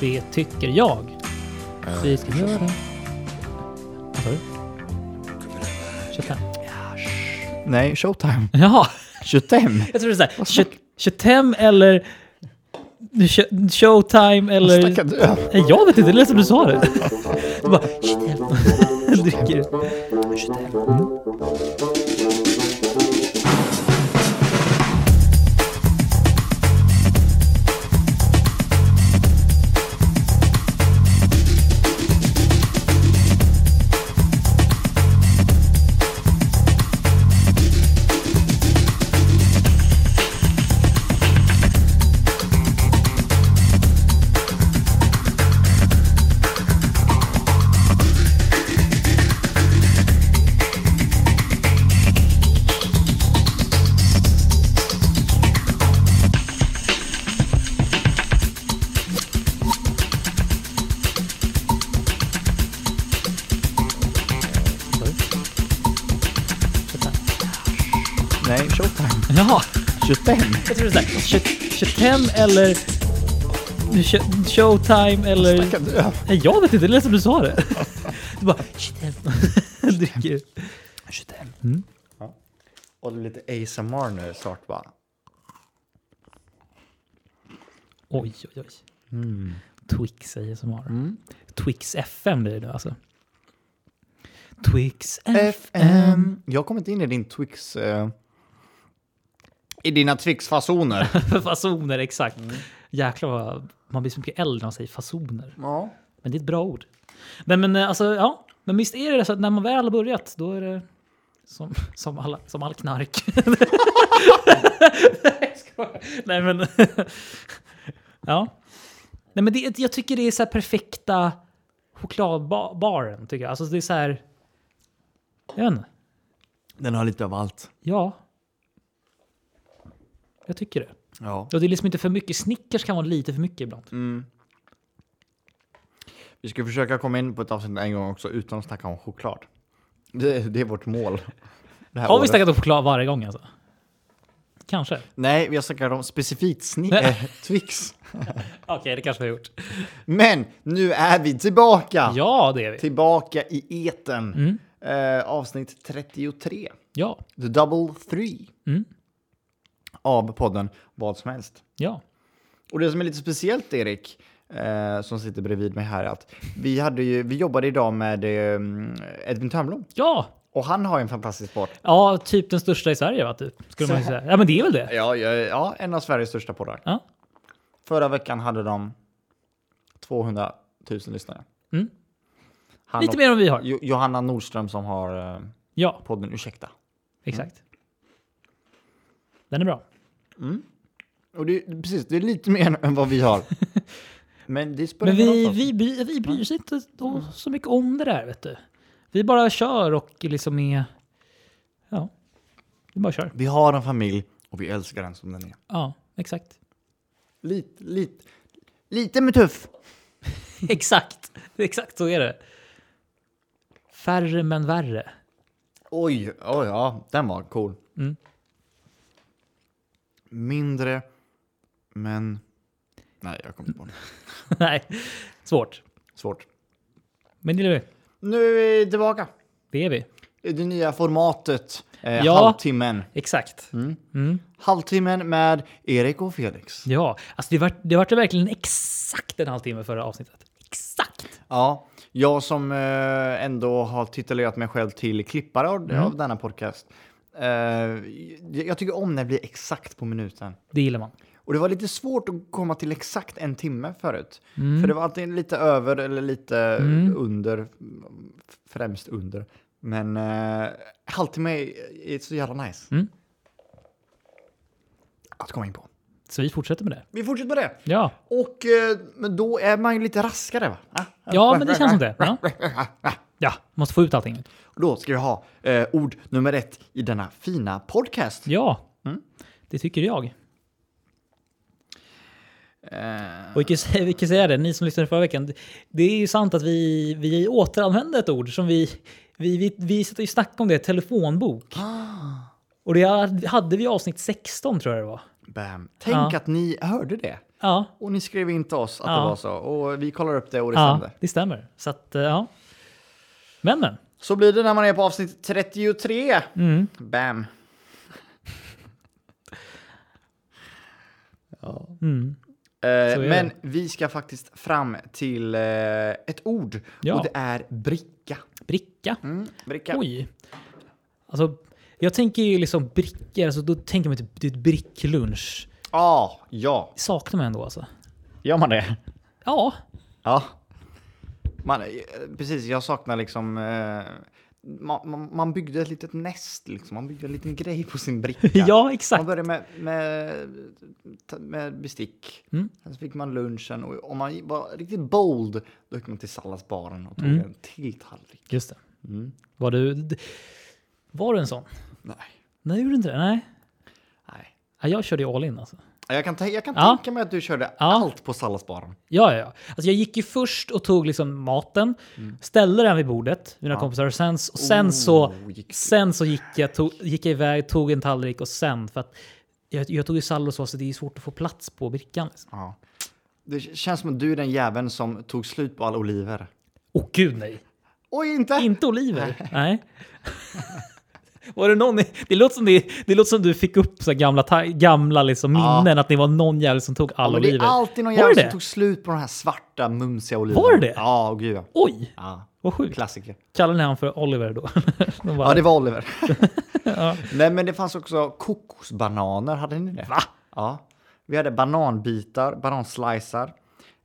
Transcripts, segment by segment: Det tycker jag. Vi ska köra. Vad sa du? Tjugotem. Nej, showtime. Jaha, 25. jag trodde såhär. tjut- Tjutem eller tjo- showtime eller... Stackar du. Nej, jag vet inte, det lät som du sa det. Du bara... Tjutem. Dricker. Tjutem. Tjutem. Nej, showtime. Jaha. 25. Jag tror det är såhär, Chetem eller Sh- Showtime eller... Stackar du. Nej, jag vet inte, det lät som du sa det. Du bara Chetem. Dricker. 25. Ja. Och lite ASMR nu snart bara. Oj, oj, oj. Twix säger som har. Twix FM blir det nu alltså. Twix FM. FM. Jag har kommit in i din Twix... Eh, I dina Twix-fasoner. fasoner, exakt. Jäklar vad man blir så mycket äldre när man säger fasoner. ja. Men det är ett bra ord. Men, men eh, alltså, ja. Men visst är det så att när man väl har börjat, då är det som, som, alla, som all knark. Nej, jag skojar. Nej, men... ja. Nej, men det, jag tycker det är så här perfekta chokladbaren, tycker jag. Alltså det är så här... Jag vet inte. Den har lite av allt. Ja. Jag tycker det. Ja. Och det är liksom inte för mycket. Snickers kan vara lite för mycket ibland. Vi ska försöka komma in på ett avsnitt en gång också utan att snacka om choklad. Det, det är vårt mål. Det här Har vi året. snackat om choklad varje gång alltså? Kanske. Nej, vi har snackat om specifikt sni- Nej. eh, Twix. Okej, det kanske vi har gjort. Men nu är vi tillbaka! Ja, det är Typ. vi. Tillbaka i eten. Mm. Eh, avsnitt 33. Ja, The Double Three. Mm. Av podden Vad som helst. ja. Och det som är lite speciellt, Erik, eh, som sitter bredvid mig här, är att vi, hade ju, vi jobbade idag med eh, Edvin Törnblom. Ja, Och han har ju en fantastisk podd. ja typ den största i Sverige va? Typ, skulle man ju säga. Ja, men det är väl det. Ja, ja, ja, en av Sveriges största poddar. Ja. Förra veckan hade de 200 000 lyssnare. Mm. Han Lite och- mer än vi har. Jo- Johanna Nordström som har eh, Ja, podden Ursäkta. exakt. Den är bra. Och det, är- precis, det är lite mer än vad vi har. Men det spelar Men ingen vi, roll för oss. vi, bry, vi bryr oss inte då så mycket om det där, vet du. Vi bara kör och liksom är... Ja, vi bara kör. vi har en familj och vi älskar den som den är. Ja, exakt. Lite, lite, lite med tuff. Exakt. Exakt så är det. Färre men värre. Oj, oj, ja, den var cool. Mm. Mindre, men... Nej, jag kom inte på den. Nej, svårt. Svårt. Men det är vi. Nu är vi tillbaka. Det är vi. i Det nya formatet. Eh, Ja. Halvtimmen. Exakt. Halvtimmen med Erik och Felix. Ja, alltså det vart det vart verkligen exakt en halvtimme förra avsnittet. Exakt! Ja, jag som eh, ändå har titulerat mig själv till klippare av, Mm. av denna podcast. Eh, jag jag tycker om när det blir exakt på minuten. Det gillar man. Och det var lite svårt att komma till exakt en timme förut. Mm. För det var alltid lite över eller lite under, främst under. Men eh, halvtimme är är så jävla nice. Mm. Att komma in på. Så vi fortsätter med det. Vi fortsätter med det. Ja, Och eh, men då är man ju lite raskare va? Ah, ah, ja ah, men det ah, känns ah. som det. Ja, ja måste få ut allting. Då ska vi ha eh, ord nummer ett i denna fina podcast. Ja, det tycker jag. Eh, Och vi kan, ju säga, vi kan säga det, ni som lyssnade förra veckan. Det är ju sant att vi, vi återanvände ett ord som vi... Vi, vi, vi satt ju och snackade om det, telefonbok. Ah. Och det hade vi i avsnitt 16 tror jag det var. Bam. Tänk Ja. att ni hörde det. Ja, Och ni skrev in till oss att Ja. det var så. Och vi kollar upp det och det ja stämde. det stämmer. Så att, eh, ja. Men men. Så blir det när man är på avsnitt 33. Mm. Bam. ja. Mm. Eh, Så är men det. vi ska faktiskt fram till eh, ett ord Ja. och det är bricka. Bricka. Mm, bricka. Oj. Alltså, jag tänker ju liksom brickor, alltså, då tänker man typ typ bricklunch. Ah, ja, Saknar man ändå alltså. gör man det? Ja, Ja. Man, eh, precis, jag saknar liksom... Eh, man, man, man byggde ett litet näst, liksom. man byggde en liten grej på sin bricka. ja, Man exakt. började med, med, med bestick. Mm. Sen så fick man lunchen och om man var riktigt bold då gick man till salladsbaren och tog Mm. en till tallrik. Just det. Mm. Var du, d- var du en sån? Nej. Nej, gjorde du inte det? Nej. Nej. Ja, Jag körde ju all in alltså. Jag kan, ta- jag kan Ja. tänka mig att du körde allt på salladsbaren. Ja, ja, ja. Alltså jag gick ju först och tog liksom maten, ställde den vid bordet, mina kompisar, och sen, och sen så, Oh, gick- sen så gick, jag, tog, gick jag iväg, tog en tallrik och sen, för att jag, jag tog ju sallosås så det är svårt att få plats på brickan. Liksom. Ja. Det k- känns som att du är den jäveln som tog slut på alla oliver. Åh gud nej! Oj, inte! Inte oliver? Nej. Var det någon, i- det, låter som det, det låter som du fick upp så här gamla, ta- gamla liksom Ja. minnen, att det var någon jävel som tog alla ja, men det är oliver. alltid någon Var det jävel som det? tog slut på de här svarta, mumsiga oliverna. Var det det? Ja, åh, gud ja. Oj, ja. vad sjukt. Klassiker. Kallade ni honom för Oliver då? De bara, Ja, det var Oliver. Ja. Nej, men det fanns också kokosbananer. Hade ni det? Va? Ja. Vi hade bananbitar, bananslicer.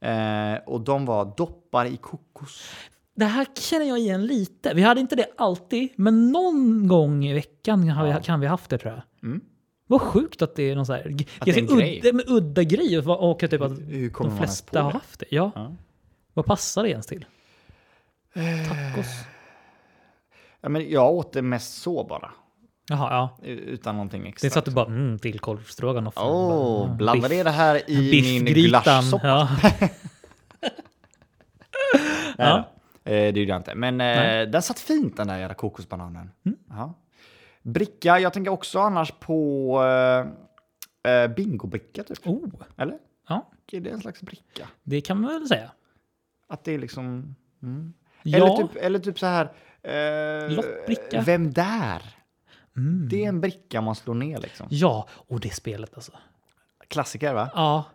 Eh, och de var doppade i kokos. Det här känner jag igen lite. Vi hade inte det alltid, men någon gång i veckan har vi, Ja. kan vi haft det tror jag. Mm. Vad sjukt att det är någon sån här det är en ganska grej. udda, men udda grej och, och typ att Hur kommer de man ens flesta på har det? haft det. Ja. Ja. Vad passar det ens till? Eh. Tacos? Ja, men jag åt det mest så bara. Jaha, ja. u- Utan någonting extra. Det är så att du bara mm, villkorv, stroganoff. Åh, Bara, mm, blandade biff- det här i min biffgrytan. gulaschsoppa? Ja. Nej, Ja. då. Eh, det gjorde jag inte. Men eh, den satt fint den där jävla kokosbananen. Mm. Ja. Bricka, jag tänker också annars på eh, eh, bingobricka typ. Oh, Eller? ja, Är det en slags bricka? det kan man väl säga. Att det är liksom... Mm. Ja, Eller, typ, eller typ så här... eh, Lottbricka. Vem där? mm. Det är en bricka man slår ner liksom. ja. och det spelet alltså. Klassiker va? Ja,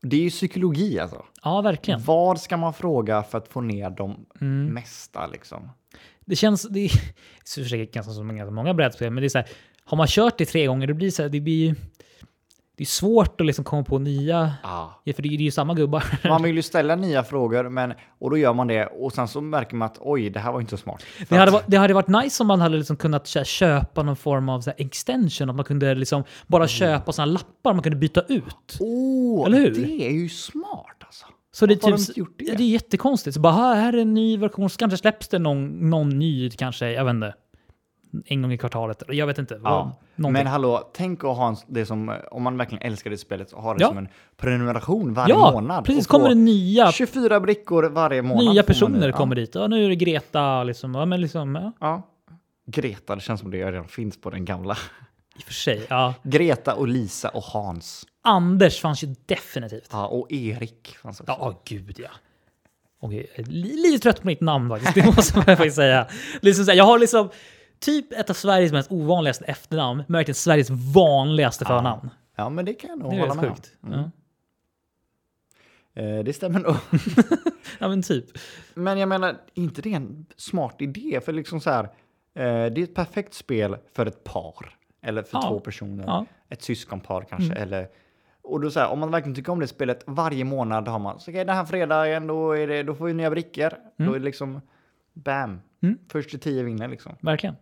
Det är ju psykologi alltså. ja Mm. verkligen. Vad ska man fråga för att få ner de mesta liksom? Det känns, det är det är säkert ganska som ganska många brädspel, men det är så här, har man kört det tre gånger, det blir så här, det blir ju- det är svårt att liksom komma på nya, Ja. ja, för det är ju samma gubbar. Man vill ju ställa nya frågor, men, och då gör man det och sen så märker man att oj, det här var inte så smart. För Det hade, att- varit, det hade varit nice om man hade liksom kunnat kö- köpa någon form av så här extension, att man kunde liksom Mm. bara köpa sådana lappar man kunde byta ut. Åh, Eller hur? det är ju smart alltså. Så det är, Varför har typ, de inte gjort det? det är jättekonstigt. Så bara, "Här, här är en ny version, så kanske släpps det någon, någon ny, kanske, jag vet inte, en gång i kvartalet. eller Jag vet inte. vad. Ja. Någonting. Men hallå, tänk att ha en, det som, om man verkligen älskar det spelet, och ha det Ja. som en prenumeration varje ja, månad. precis. och få Kommer det nya 24 brickor varje månad. får Nya man personer nu. kommer dit. Ja, nu är det Greta. Liksom. Ja, men liksom, ja. Ja. ja. Greta, det känns som det redan finns på den gamla. I och för sig. Ja. Greta och Lisa och Hans. Anders fanns ju definitivt. Ja, och Erik fanns också. Ja, oh, gud ja. Okej, jag är li- lite trött på mitt namn faktiskt. Det måste man faktiskt säga. Liksom, så här, jag har liksom typ ett av Sveriges mest ovanligaste efternamn, men verkligen Sveriges vanligaste förnamn. Ja, men det kan jag nog Det är hålla rätt med Mm. om. sjukt. Ja. Eh, Det stämmer nog. ja, men typ. Men jag menar, inte det är en smart idé? För liksom så här, eh, det är ett perfekt spel för ett par. Eller för Ja. två personer. Ja. Mm. Ett syskonpar kanske. Eller, och då så här, om man verkligen tycker om det spelet varje månad har man, så okej den här fredagen då, är det, då får vi nya brickor. Då är det liksom, bam. Mm. Först till tio vinner liksom. Verkligen.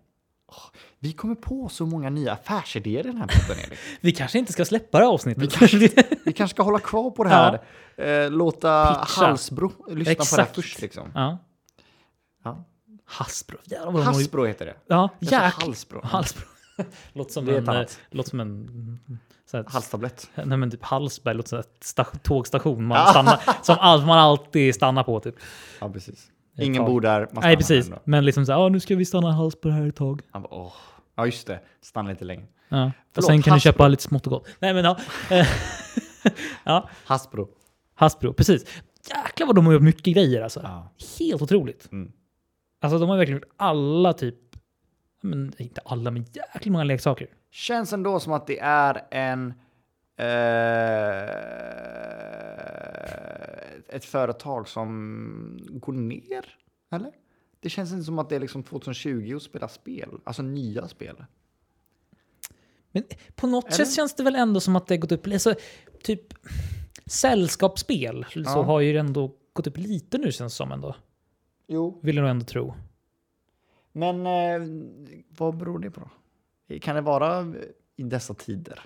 Vi kommer på så många nya affärsidéer i den här podden Erik. Vi kanske inte ska släppa det här avsnittet. Vi kanske... Vi kanske ska hålla kvar på det här. Eh, låta Pitcha. Halsbro lyssna på det här Exakt. först liksom. ja. Ja. Hasbro. Jävlar vad de har ju- Hasbro heter det. Ja, Jag sa jäklar. Halsbro. Halsbro. Låter som Det är en... ett annat. eh, Låter som en... Så här, Halstablett. nej men typ Hallsberg låter som en sta- tågstation man stannar, som all, man alltid stannar på. Typ. Ja, precis. Ett Ingen tag. bor där, man Nej precis, där ändå. men liksom så här, "Ja, nu ska vi stanna i Hallsberg här ett tag. Han bara, åh. Ja, just det. Stanna lite längre. Ja. Och Förlåt, sen kan Hallsberg. du köpa lite smått och gott. Nej men ja. Eh, Ja. Hasbro. Hasbro, precis. Jäklar vad de har gjort mycket grejer alltså. Ja. Helt otroligt. Mm. Alltså de har verkligen gjort alla typ, men inte alla, men jäkligt många leksaker. Känns ändå som att det är en... Eh, ett företag som går ner, eller? Det känns inte som att det är liksom 2020 och spela spel, alltså nya spel. Men på något Eller? sätt känns det väl ändå som att det har gått upp, alltså, typ sällskapsspel så Ja. har ju det ändå gått upp lite nu känns det som ändå. Jo, Vill jag nog ändå tro. men eh, vad beror det på? då? Kan det vara i dessa tider?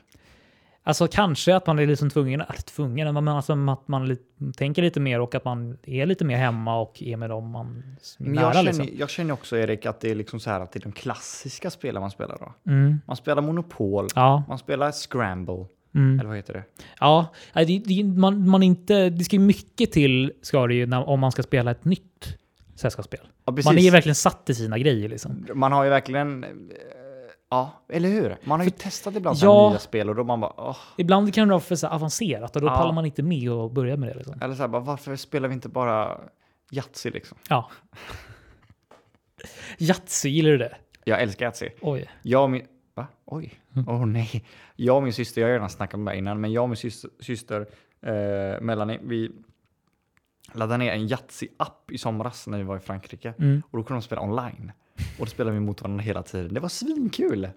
Alltså kanske att man är liksom tvungen, eller tvungen, men alltså att man li- tänker lite mer och att man är lite mer hemma och är med dem man s- är Men nära. jag, känner, liksom. jag känner också Erik att det är liksom så här att det är de klassiska spelen man spelar då. mm. Man spelar Monopol, Ja, man spelar Scramble, mm. eller vad heter det? ja. Nej, Det, det, man, man inte, det ska ju mycket till ska det ju när, om man ska spela ett nytt sällskapsspel. Ja, precis. Man är ju verkligen satt i sina grejer liksom. Man har ju verkligen... eh, Ja, eller hur? Man har ju testat ibland så Ja. här nya spel och då man bara... "Åh." Ibland kan det vara för så här avancerat och då Ja. pallar man inte med och börja med det. Liksom. Eller så här, bara, varför spelar vi inte bara Yatzy liksom? Ja. Yatzy, gillar du det? Jag älskar Yatzy. Oj. Jag och min... Va? Oj. Mm. Åh nej. Jag och min syster, jag har redan snackat med mig innan, men jag och min syster, syster eh, Melanie, vi laddade ner en Yatzy-app i somras när vi var i Frankrike. Mm. Och då kunde de spela online. Och då spelade vi mot varandra hela tiden. Det var svinkul!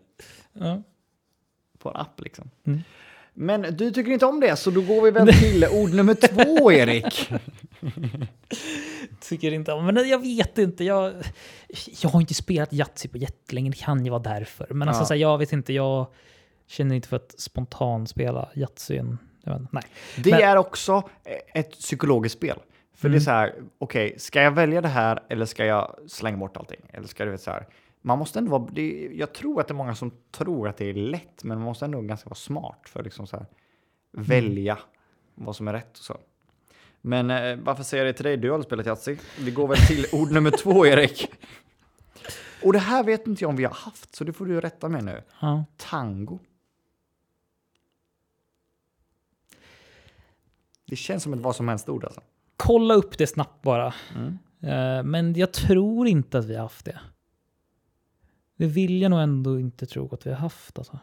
Ja. På en app liksom. Mm. Men du tycker inte om det, så då går vi väl till ord nummer två, Erik. Tycker inte om, men jag vet inte. Jag, jag har inte spelat Yatzy på jättelänge, det kan ju vara därför. Men alltså, Ja. så här, jag vet inte, jag känner inte för att spontant spela Yatzy. en- jag vet inte, Nej. Det Men- är också ett psykologiskt spel. För det är så här, okej, ska jag välja det här eller ska jag slänga bort allting? Eller ska du vet så här, man måste ändå vara, det, jag tror att det är många som tror att det är lätt, men man måste ändå ganska vara smart för att liksom så här, välja vad som är rätt och så. Men eh, varför säger jag det till dig? Du har aldrig spelat Yatzy. Vi går väl till ord nummer två, Erik. Och det här vet inte jag om vi har haft, så det får du rätta mig nu. Ja. Tango. Det känns som ett vad som helst-ord alltså. Kolla upp det snabbt bara. Mm. Eh, Men jag tror inte att vi har haft det. Det vill jag nog ändå inte tro att vi har haft. Alltså.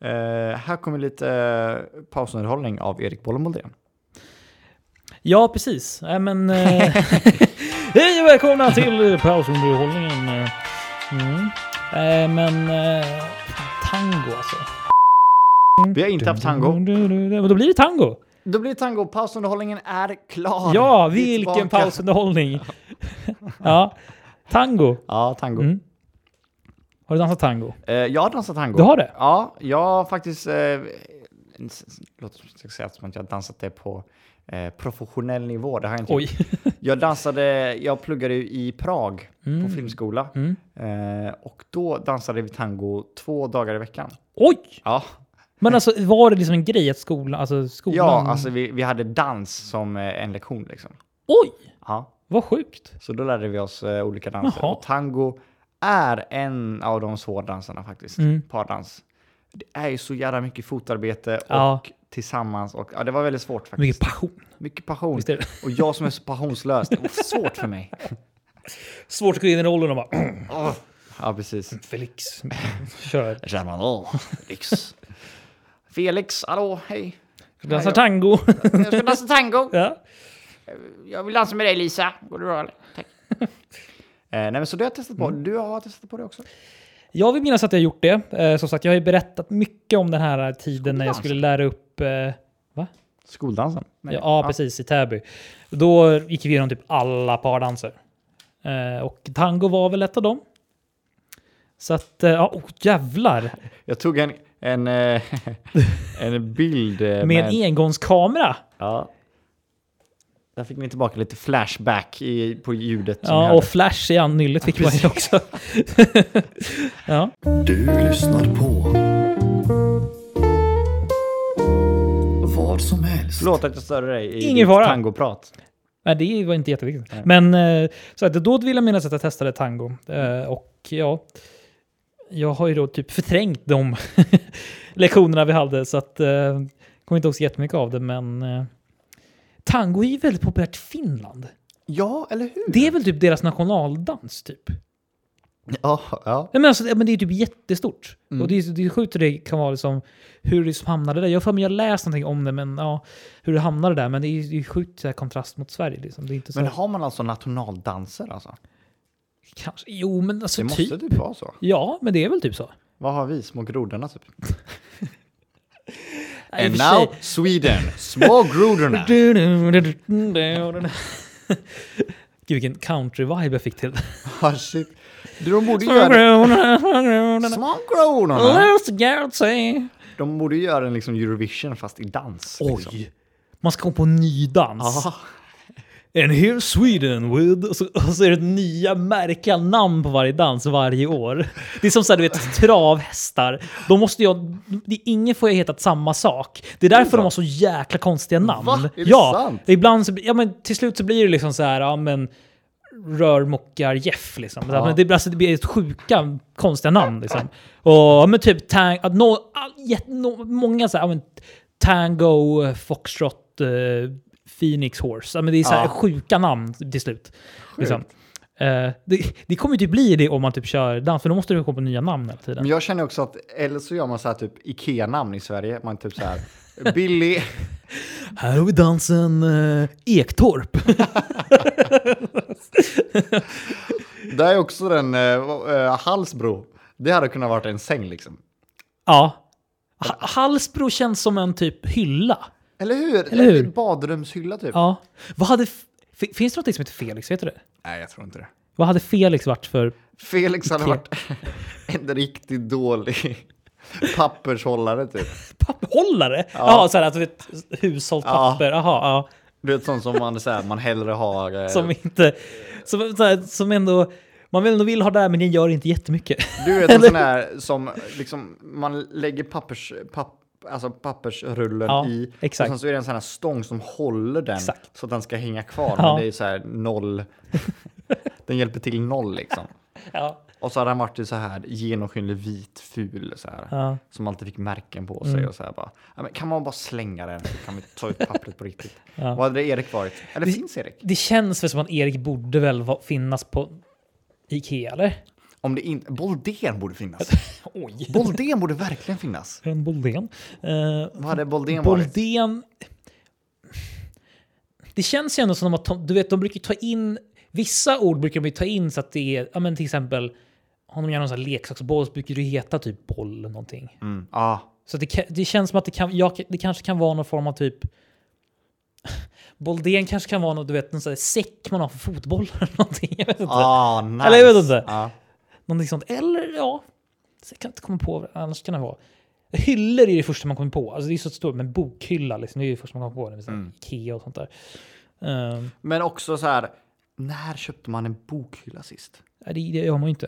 Eh, här kommer lite eh, pausunderhållning av Erik Bollemoldén. Ja, precis. Nej, men, eh, hej och välkomna till pausunderhållningen. eh. Mm. Eh, men eh, tango alltså. Vi har inte haft tango. Men då blir det tango. Då blir det tango. Pausunderhållningen är klar. Ja, Vi är vilken tillbaka. pausunderhållning. ja, tango. Ja, tango. Mm. Har du dansat tango? Eh, jag har dansat tango. Du har det? Ja, jag har faktiskt... Eh, en- s- s- låter som att jag säger att jag har dansat det på eh, professionell nivå. Det har jag inte Oj. Jag dansade, jag pluggade ju i Prag på filmskola. Mm. Eh, och då dansade vi tango två dagar i veckan. Oj! Ja, Men alltså var det liksom en grej att skolan... Alltså skolan ja alltså vi, vi hade dans som eh, en lektion liksom. Oj! Ja, Vad sjukt. så då lärde vi oss eh, olika danser. Jaha. Och tango är en av de svåra danserna faktiskt. Mm. Pardans. Det är ju så jävla mycket fotarbete och Ja. tillsammans. Och, ja, det var väldigt svårt faktiskt. Mycket passion. Mycket passion. Visst är det? Och jag som är så passionslös, det var svårt för mig. Svårt att gå in i rollen och bara... Åh. Ja, precis. Felix, kör. Jag känner man, åh, Felix. Felix, hallå, hej. Dansa tango. Jag ska dansa tango. ja. Jag vill dansa med dig Lisa. Går det bra eller? Tack. Eh, Mm. nej men så du har testat på, du har testat på det också? Jag vill minnas att jag har gjort det. Eh, som sagt, jag har ju berättat mycket om den här tiden när jag Skoldansen. skulle lära upp... Eh, va? Skoldansen? Ja, precis. I Täby. Då gick vi igenom typ alla pardanser. Eh, och tango var väl ett av dem. Så att, eh, ja, oh, jävlar! Jag tog en, en, eh, en bild eh, Med en engångskamera. ja. Där fick ni tillbaka lite flashback i, på ljudet. som jag Ja, hade. och flash i annyllet fick man ju också. ja. Du lyssnar på vad som helst. Förlåt att jag störde dig i Ingen fara. tangoprat. Nej, det var inte jätteviktigt. Men eh, så att, då vill jag minnas att jag testade Mm. tango. Eh, Och ja, jag har ju då typ förträngt de lektionerna vi hade. Så att, eh, kommer inte ihåg så jättemycket av det, men eh, tango är ju väldigt populärt i Finland. Ja, eller hur? Det är väl typ deras nationaldans typ. Ja, ja. Nej, men, alltså, ja, men det är ju typ jättestort. Mm. Och det är, det är sjukt hur det kan vara liksom, hur det liksom hamnade där. Jag har för mig jag läst någonting om det, men ja, hur det hamnade där. Men det är ju det är sjukt så här, kontrast mot Sverige. Liksom. Det är inte så Men har man alltså nationaldanser alltså? kanske, jo, men alltså Det måste typ. typ vara så. Ja, men det är väl typ så. Vad har vi? Små grodorna typ? Ja, i och And för sig- now Sweden, små grodorna. Gud vilken country-vibe jag fick till det. Ah, shit. Du, De borde ju göra, små grodorna. Let's get say. De borde ju göra en liksom Eurovision fast i dans. Liksom. Ah. Oj! Man ska komma på en ny dans. Ja, And here Sweden with... Och så, och så är det nya märkliga namn på varje dans varje år. Det är som så här, du vet, travhästar. De måste jag... Det, är- ingen får ju heta samma sak. Det är därför de har så jäkla konstiga namn. Va? Är det ja, sant? Ibland så, ja, men till slut så blir det liksom så här, ja men... Rörmokar-Jeff liksom. Ja. Men det, blir- alltså, det blir ett sjuka, konstiga namn liksom. Och ja, men typ tang, att no, all, jätte- no, många så här, ja, men, tango, eh, foxtrot, eh, phoenix horse. Ja, men det är så här Ja. sjuka namn till slut. Liksom. Eh, det, det kommer ju typ bli det om man typ kör dans, för då måste du komma på nya namn hela tiden. Men jag känner också att, eller så gör man så här typ Ikea-namn i Sverige. Man typ så här, Billy, Här har vi dansen eh, Ektorp. det är också den, eh, vad- eh, Hallsbro. Det hade kunnat varit en säng liksom. ja. Ha- Hallsbro känns som en typ hylla. Eller hur? Eller hur? En badrumshylla typ. Ja. Vad hade... F- fi- finns det något som heter Felix? Vet du det? Nej, jag tror inte det. Vad hade Felix varit för... Felix hade Ikea. varit en riktigt dålig pappershållare typ. Papperhållare? Ja. Jaha, såhär att du vet, hushållt Ja. papper. Jaha, ja. Du vet sånt som man, så här, man hellre har. Eh, Som inte... Som, så här, som ändå... Man vill ändå vill ha det här, men det gör inte jättemycket. Du vet en sån här som liksom, man lägger pappers, papp, alltså pappersrullen Ja, i. exakt. Och sen så är det en sån här stång som håller den Exakt. så att den ska hänga kvar. Ja. Men det är så här noll. den hjälper till noll liksom. Ja. Och så hade han varit i så här genomskinlig vit ful så här. Ja. Mm. Som alltid fick märken på sig och så här bara. "Ja, Men kan man bara slänga den så kan vi ta ut pappret på riktigt. Ja. Vad hade Erik varit? Eller finns Erik? Det känns väl som att Erik borde väl va- finnas på Ikea, eller? Om det inte... Boldén borde finnas. Oj! Boldén borde verkligen finnas. En Boldén. Eh, Vad hade Boldén varit? Boldén... Det känns ju ändå som att de, du vet, de brukar ju ta in... Vissa ord brukar de ju ta in så att det är... Ja, men till exempel... Om de gör någon sån här leksaksboll så brukar det ju heta typ boll eller någonting. Mm. Ah. Så det, ka- det känns som att det, kan, jag, det kanske kan vara någon form av typ... Boldén kanske kan vara något, du vet, någon sån här säck man har för fotboll eller någonting. Jag vet inte. Ah, nice. Ah. Eller jag vet inte. Ja. Någonting sånt. Eller ja, så jag kan inte komma på vad annars kan det vara. Hyllor är det första man kommer på. Alltså det är så stort, men bokhylla liksom, det är det första man kommer på. Det är så här Mm. Ikea och sånt där. Ehm, Men också så här, när köpte man en bokhylla sist? nej, det, det gör man ju inte.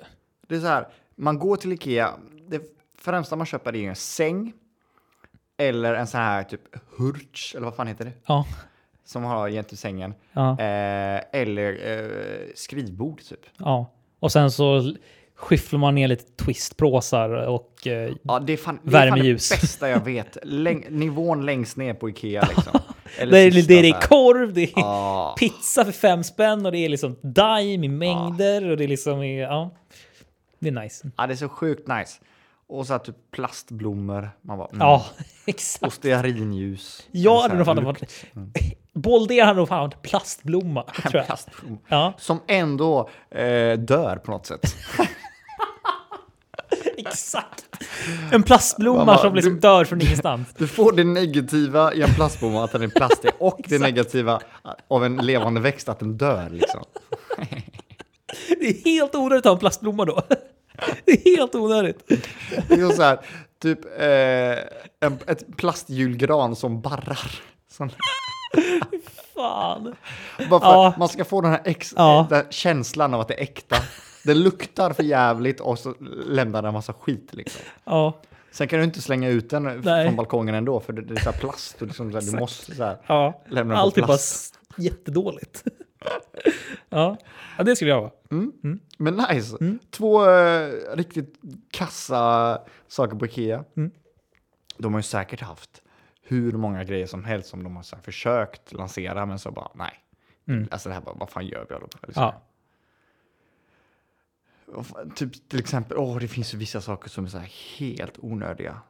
Det är så här, man går till Ikea, det främsta man köper är ju en säng. Eller en sån här typ hurts, eller vad fan heter det? Ja, Som har jämte sängen. ja, Eh, eller eh, skrivbord typ. ja. Och sen så skyfflar man ner lite twistpråsar och... eh, Ja, det är fan det, är fan det Värmeljus. bästa jag vet. Läng, nivån längst ner på Ikea liksom. Eller det, är, sista det är så det här. är korv, det är Ah. pizza för fem spänn och det är liksom daim i mängder och det är liksom... är- Ja, det är nice. Ja, det är så sjukt nice. Och så här typ plastblommor. Man bara, mm. Ja, exakt. Och stearinljus. Jag Eller hade nog så här mm. fan varit... Boldén hade nog fan varit plastblomma, tror jag. plastblommor. Ja, Som ändå eh, dör på något sätt. exakt. En plastblomma Mamma, som liksom du- dör från ingenstans. Du får det negativa i en plastblomma, att den är plastig, och det negativa av en levande växt, att den dör liksom. Det är helt onödigt att ha en plastblomma då. Det är helt onödigt. Det är så här, typ eh, en, ett plastjulgran som barrar. Sån, Fan. bara för Ja. att man ska få den här, ex, Ja. den här känslan av att det är äkta. Det luktar för jävligt och så lämnar den en massa skit liksom. Ja, Sen kan du inte slänga ut den Nej. från balkongen ändå, för det, det är så här plast. Och liksom, så här, du måste så här, ja. lämna den på Allt är bara plast. s- jättedåligt. Ja. ja, det skulle jag vara. Men nice. Mm. Mm. Två eh, riktigt kassa saker på Ikea. de har ju säkert haft hur många grejer som helst som de har så här försökt lansera, men så bara nej. Mm. Alltså det här, bara, vad fan gör vi? alla på, Liksom. Ja. Och f- Typ till exempel, åh, det finns ju vissa saker som är så här helt onödiga.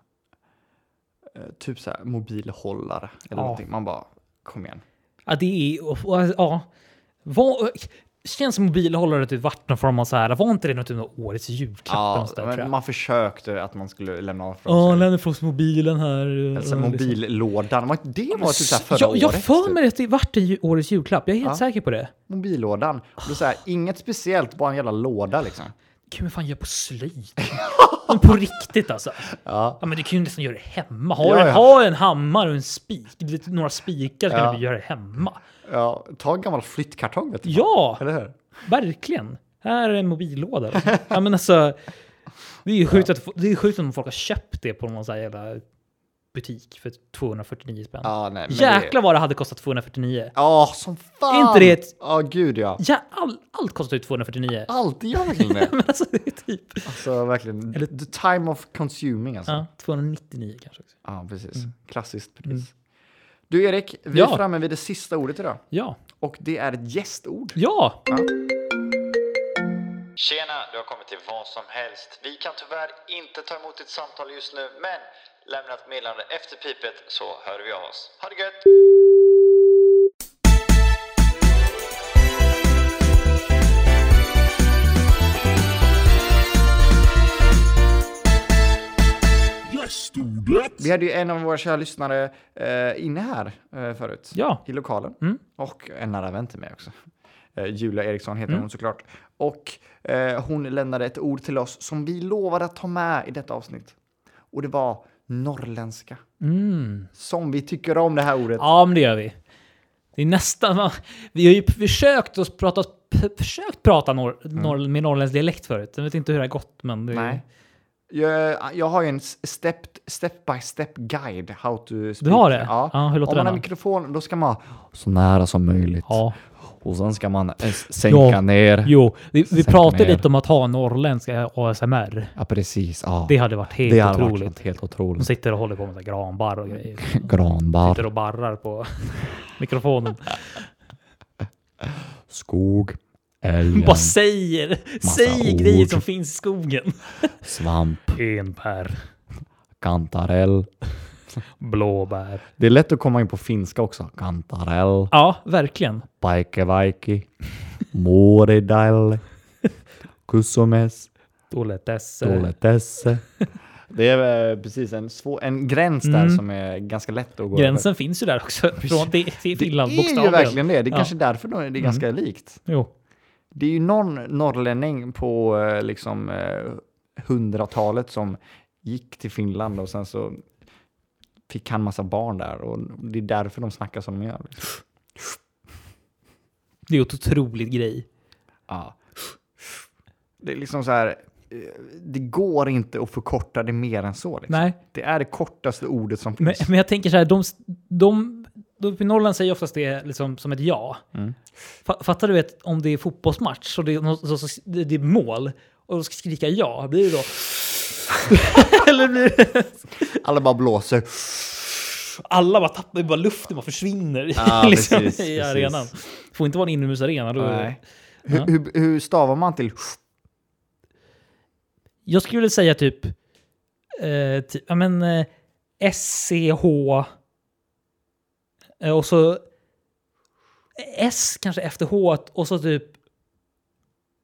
Eh, typ så här mobilhållare eller Ja. någonting. Man bara, kom igen. Ja, det är... och- och- Ja. Vad, känns mobilhållare typ vart någon form av så här... Var inte det något typ av årets julklapp? Ja, någonstans där, tror men jag? man försökte att man skulle lämna av från Ja, sig. lämna ifrån sig mobilen här. Alltså Ja, liksom. mobillådan, var inte det var typ så här förra jag, jag året? för typ. mig att det vart en ju- årets julklapp. Jag är helt Ja. säker på det. Mobillådan. Och då så här, inget speciellt, bara en jävla låda liksom. Gud, men fan gör på slöjd? men på riktigt alltså. Ja. Ja, men du kan ju nästan göra det hemma. Ha, Ja, ja. ha en hammare och en spik. Lite, några spikar så Ja. kan du göra det hemma. ja. Ta en gammal flyttkartong vet du. Ja, Eller hur? verkligen. Här är en mobillåda. då. ja, men alltså, det är ju sjukt, att, det är sjukt om folk har köpt det på någon sån här jävla butik för 249 spänn. Ja, nej, men Jäklar Det... vad det hade kostat 249. Ja, som fan! Är inte det ett- Ja, gud ja. Ja, all, allt kostar ju 249. Alltid gör verkligen det. Men alltså, det är typ... Alltså verkligen. Eller- The time of consuming alltså. Ja, Ja, 299 kanske också. precis. Klassiskt pris. Du Erik, vi Mm. Ja. är framme vid det sista ordet idag. Ja. Och det är ett gästord. Ja! Tjena, du har kommit till vad som helst. Vi kan tyvärr inte ta emot ditt samtal just nu, men lämna ett meddelande efter pipet så hör vi av oss. Ha det gött! Vi hade ju en av våra kära lyssnare eh, inne här eh, förut. Ja. I lokalen. Och en nära vän till mig också. Eh, Julia Eriksson heter hon såklart. Och eh, hon lämnade ett ord till oss som vi lovade att ta med i detta avsnitt. Och det var norrländska. Som vi tycker om det här ordet. Mm. Ja, men det gör vi. Det är nästan... Vi har ju försökt att prata, p- försökt prata norr, norr, med norrländsk dialekt förut. Jag vet inte hur det har gått, men... Det, Mm. Nej. Jag, jag har ju en s- step, step by step guide how to speak. har det? Ja. Ja, hur låter Om man den har då? mikrofon, då ska man så nära som möjligt. Ja, Och sen ska man eh, s- sänka Ja. ner. jo. Vi, vi Säkert pratade mer. lite om att ha norrländska ASMR. Ja, precis. Ja. Det hade varit helt Det hade varit otroligt. något helt De otroligt. sitter och håller på med så här granbarr och grejer. Granbar, Sitter och barrar på mikrofonen. skog, älgen, Bara säger, säger ord. grejer som finns i skogen. svamp, Enbär, kantarell. blåbär. Det är lätt att komma in på finska också. Kantarell, Ja, verkligen. paikevaiki, muoridell, kusumes, Doletes. eh, toletesse. Det är eh, precis en, svår, en gräns där Mm. som är ganska lätt att gå Gränsen finns ju där också. Från till, till Finland, Det är ju bokstavligen. verkligen det. Det är Ja. Mm. kanske därför då det är ganska likt. Jo. Det är ju någon norrlänning på eh, liksom eh, hundratalet som gick till Finland och sen så fick han massa barn där och det är därför de snackar som de gör. Liksom. Det är ju ett otroligt grej. Ja. Det är liksom så här, eh, det går inte att förkorta det mer än så. Liksom. Nej, Det är det kortaste ordet som men, finns. men jag tänker så här. De, de, de, I Norrland säger oftast det liksom som ett ja. Mm. Fa- Fattar du vet, om det är fotbollsmatch och det är, nå- så, så, det det är mål och de ska skrika ja, blir det då... Eller blir det... Alla bara blåser. Alla bara tappar bara luften, bara försvinner Ja, liksom, precis, i precis. arenan. Får inte vara en inomhusarena. Då, Nej. Hur, hur, hur stavar man till Jag skulle vilja säga typ... Eh, typ ja, men, eh, SCH... Eh, och så... eh, S kanske efter H och så typ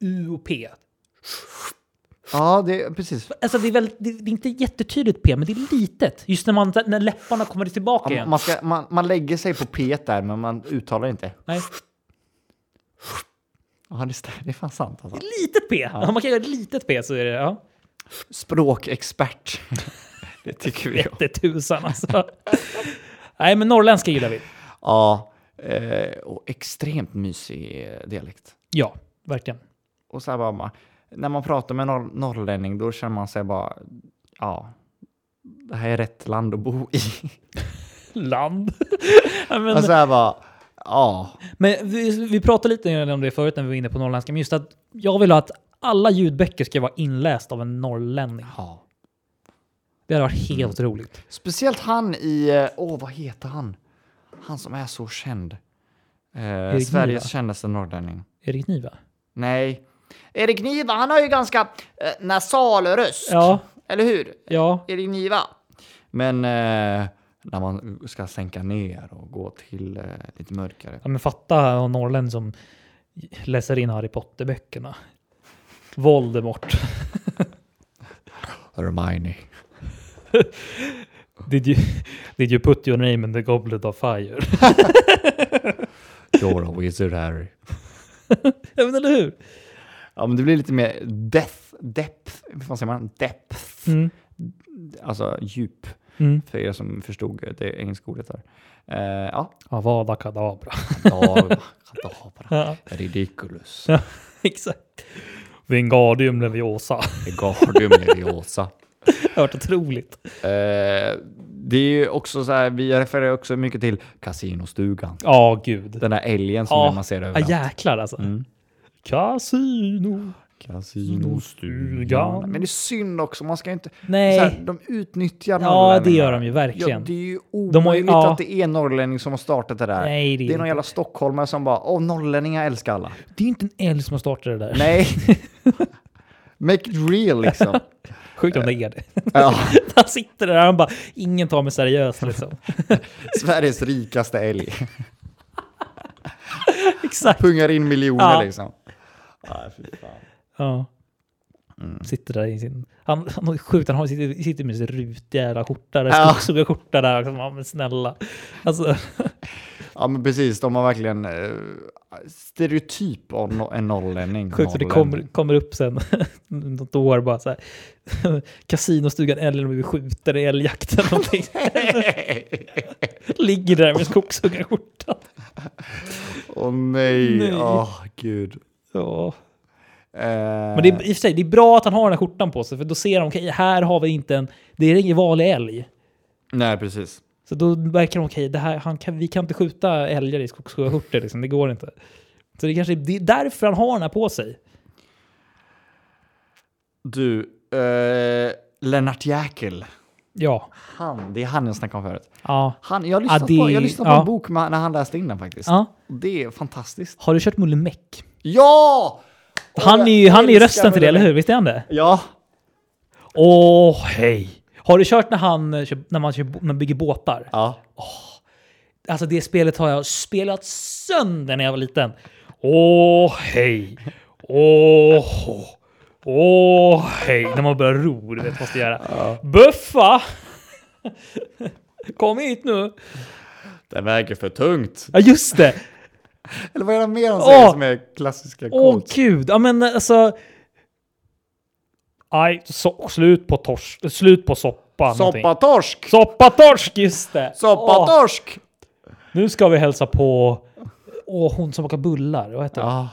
U och P. Ja, det, precis. Alltså det är, väldigt, det, det är inte jättetydligt P, men det är litet. Just när, man, när läpparna kommer tillbaka Ja, igen. man, ska, man, man lägger sig på P där, men man uttalar inte. Nej, Ja, det, stä- det är fan sant alltså. litet P! Om man kan göra ett litet P så är det... Ja. Språkexpert. det tycker vi om. Jättetusan alltså. Nej, men norrländska gillar vi. Ja, eh, och extremt mysig eh, dialekt. Ja, verkligen. Och så här bara, man- när man pratar med norr, norrlänning då känner man sig bara, ja, det här är rätt land att bo i. Land. Ja, men- Och så här bara, ja, Men vi, vi pratade lite grann om det förut när vi var inne på norrländska, men just att jag vill ha att alla ljudböcker ska vara inläst av en norrlänning. ja. Det hade varit helt roligt. Speciellt han i, eh, åh vad heter han? Han som är så känd. Eh, Erik Sveriges Niva. kändaste norrlänning. Erik Niva? Nej. Erik Niva, han har ju ganska eh, nasal röst. Ja, Eller hur? ja. Erik Niva. Men eh, när man ska sänka ner och gå till eh, lite mörkare. ja men fatta en norrlänning som läser in Harry Potter-böckerna. Voldemort. Hermione. Did you, did you put your name in the goblet of fire? Dora Wizard Harry. ja, men eller hur? Ja, men det blir lite mer death, depth, vad säger man? Depth. Mm. Alltså djup. Mm. För er som förstod det engelska ordet där. Eh, ja. Avada kadabra. Kadabra. Ja, Ridiculous. exakt. Wingardium Leviosa. Gardium leviosa. Det har varit otroligt. Eh, det är ju också så här, vi refererar också mycket till kasinostugan. Ja, gud. Den där älgen som Ja. man ser Ja, överallt. jäklar alltså. Mm. Casino. Kasinostugan. Men det är synd också, man ska ju inte... Nej. Så här, de utnyttjar Ja, det gör norrlänningarna. de ju verkligen. Ja, det är ju De har ju- omöjligt ja. att det är en norrlänning som har startat det där. Nej, det är det är någon inte. jävla stockholmare som bara åh, norrlänningar älskar alla. Det är ju inte en älg som har startat det där. Nej. Make it real liksom. Sjukt om det är det. ja, Han sitter där och bara, ingen tar mig seriöst liksom. Sveriges rikaste älg. Exakt. Pungar in miljoner Ja. liksom. Ja. Sitter där i sin... Han, han är sjukt, han har, sitter, sitter med sin rutiga jävla skjorta där. Ja. Skogsuggarskjorta där. Liksom. Ja, men snälla. Alltså, Ja men precis, de har verkligen eh, stereotyp av no- en norrlänning. sjukt för det kommer, kommer upp sen något år bara så här. Kasinostugan eller om vi skjuter i älgjakt eller någonting. Ligger där med skogshuggarskjortan. Åh nej, Nej. åh gud. Ja. Eh, Men det är, i och för sig, det är bra att han har den här skjortan på sig för då ser de, okej, här har vi inte en, det är ingen vanlig älg. Nej precis. Så då verkar de, okej, det här, han kan, vi kan inte skjuta älgar i skogshuggarskjortor, liksom, det går inte. Så det kanske är- det är därför han har den här på sig. Du, eh, Lennart Jäkel. Ja. Han, det är han jag snackade om förut. ja. Han, jag har lyssnat, det- på, jag har lyssnat på ja. en bok med, när han läste in den faktiskt. ja. Det är fantastiskt. Har du kört Mulle Meck? Ja! Han är jag ju han är ju älskar rösten till det, Mulle eller hur? Visst är han det? Ja. Åh, hej! Har du kört när, han, eh, kör- när man, kör, när man bygger båtar? ja. Alltså det spelet har jag spelat sönder när jag var liten. Åh, hej! Åh, hå. åh, hej! När man börjar ro, du vet vad man ska göra. Buffa! Kom hit nu! Det väger för tungt. Ja, just det! Eller vad är det mer han säger Åh! som är klassiska Åh, quotes? gud! Ja, men alltså... Nej, so- slut på torsk. Slut på soppa. någonting. Soppatorsk! Soppatorsk, just det! Åh, Soppatorsk! nu ska vi hälsa på... Åh, hon som bakar bullar. Vad heter hon? Ja.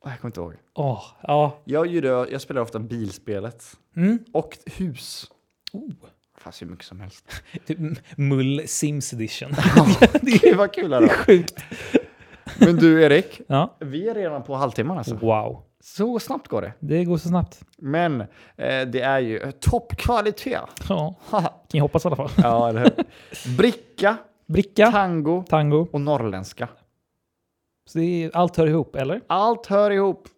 Åh, Jag kommer inte ihåg. Åh, ja. Jag, gjorde, jag spelar ofta bilspelet. Mm. Oh. Och hus. Det fanns ju mycket som helst. Typ M- Mull Sims Edition. Det var kul det ändå. är sjukt. Men du Erik, Ja. vi är redan på halvtimman alltså. Wow. Så snabbt går det. Det går så snabbt. Men eh, det är ju eh, toppkvalitet. Ja. Kan ju hoppas i alla fall. ja, eller hur? Bricka, Bricka, tango tango. och norrländska. Så det är, allt hör ihop, eller? Allt hör ihop.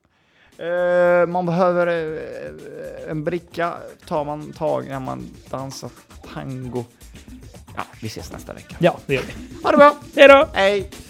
Eh, man behöver eh, en bricka, tar man tag när man dansar tango. Ja, vi ses nästa vecka. Ja, det gör vi. Ha det bra! Hej då! Hej!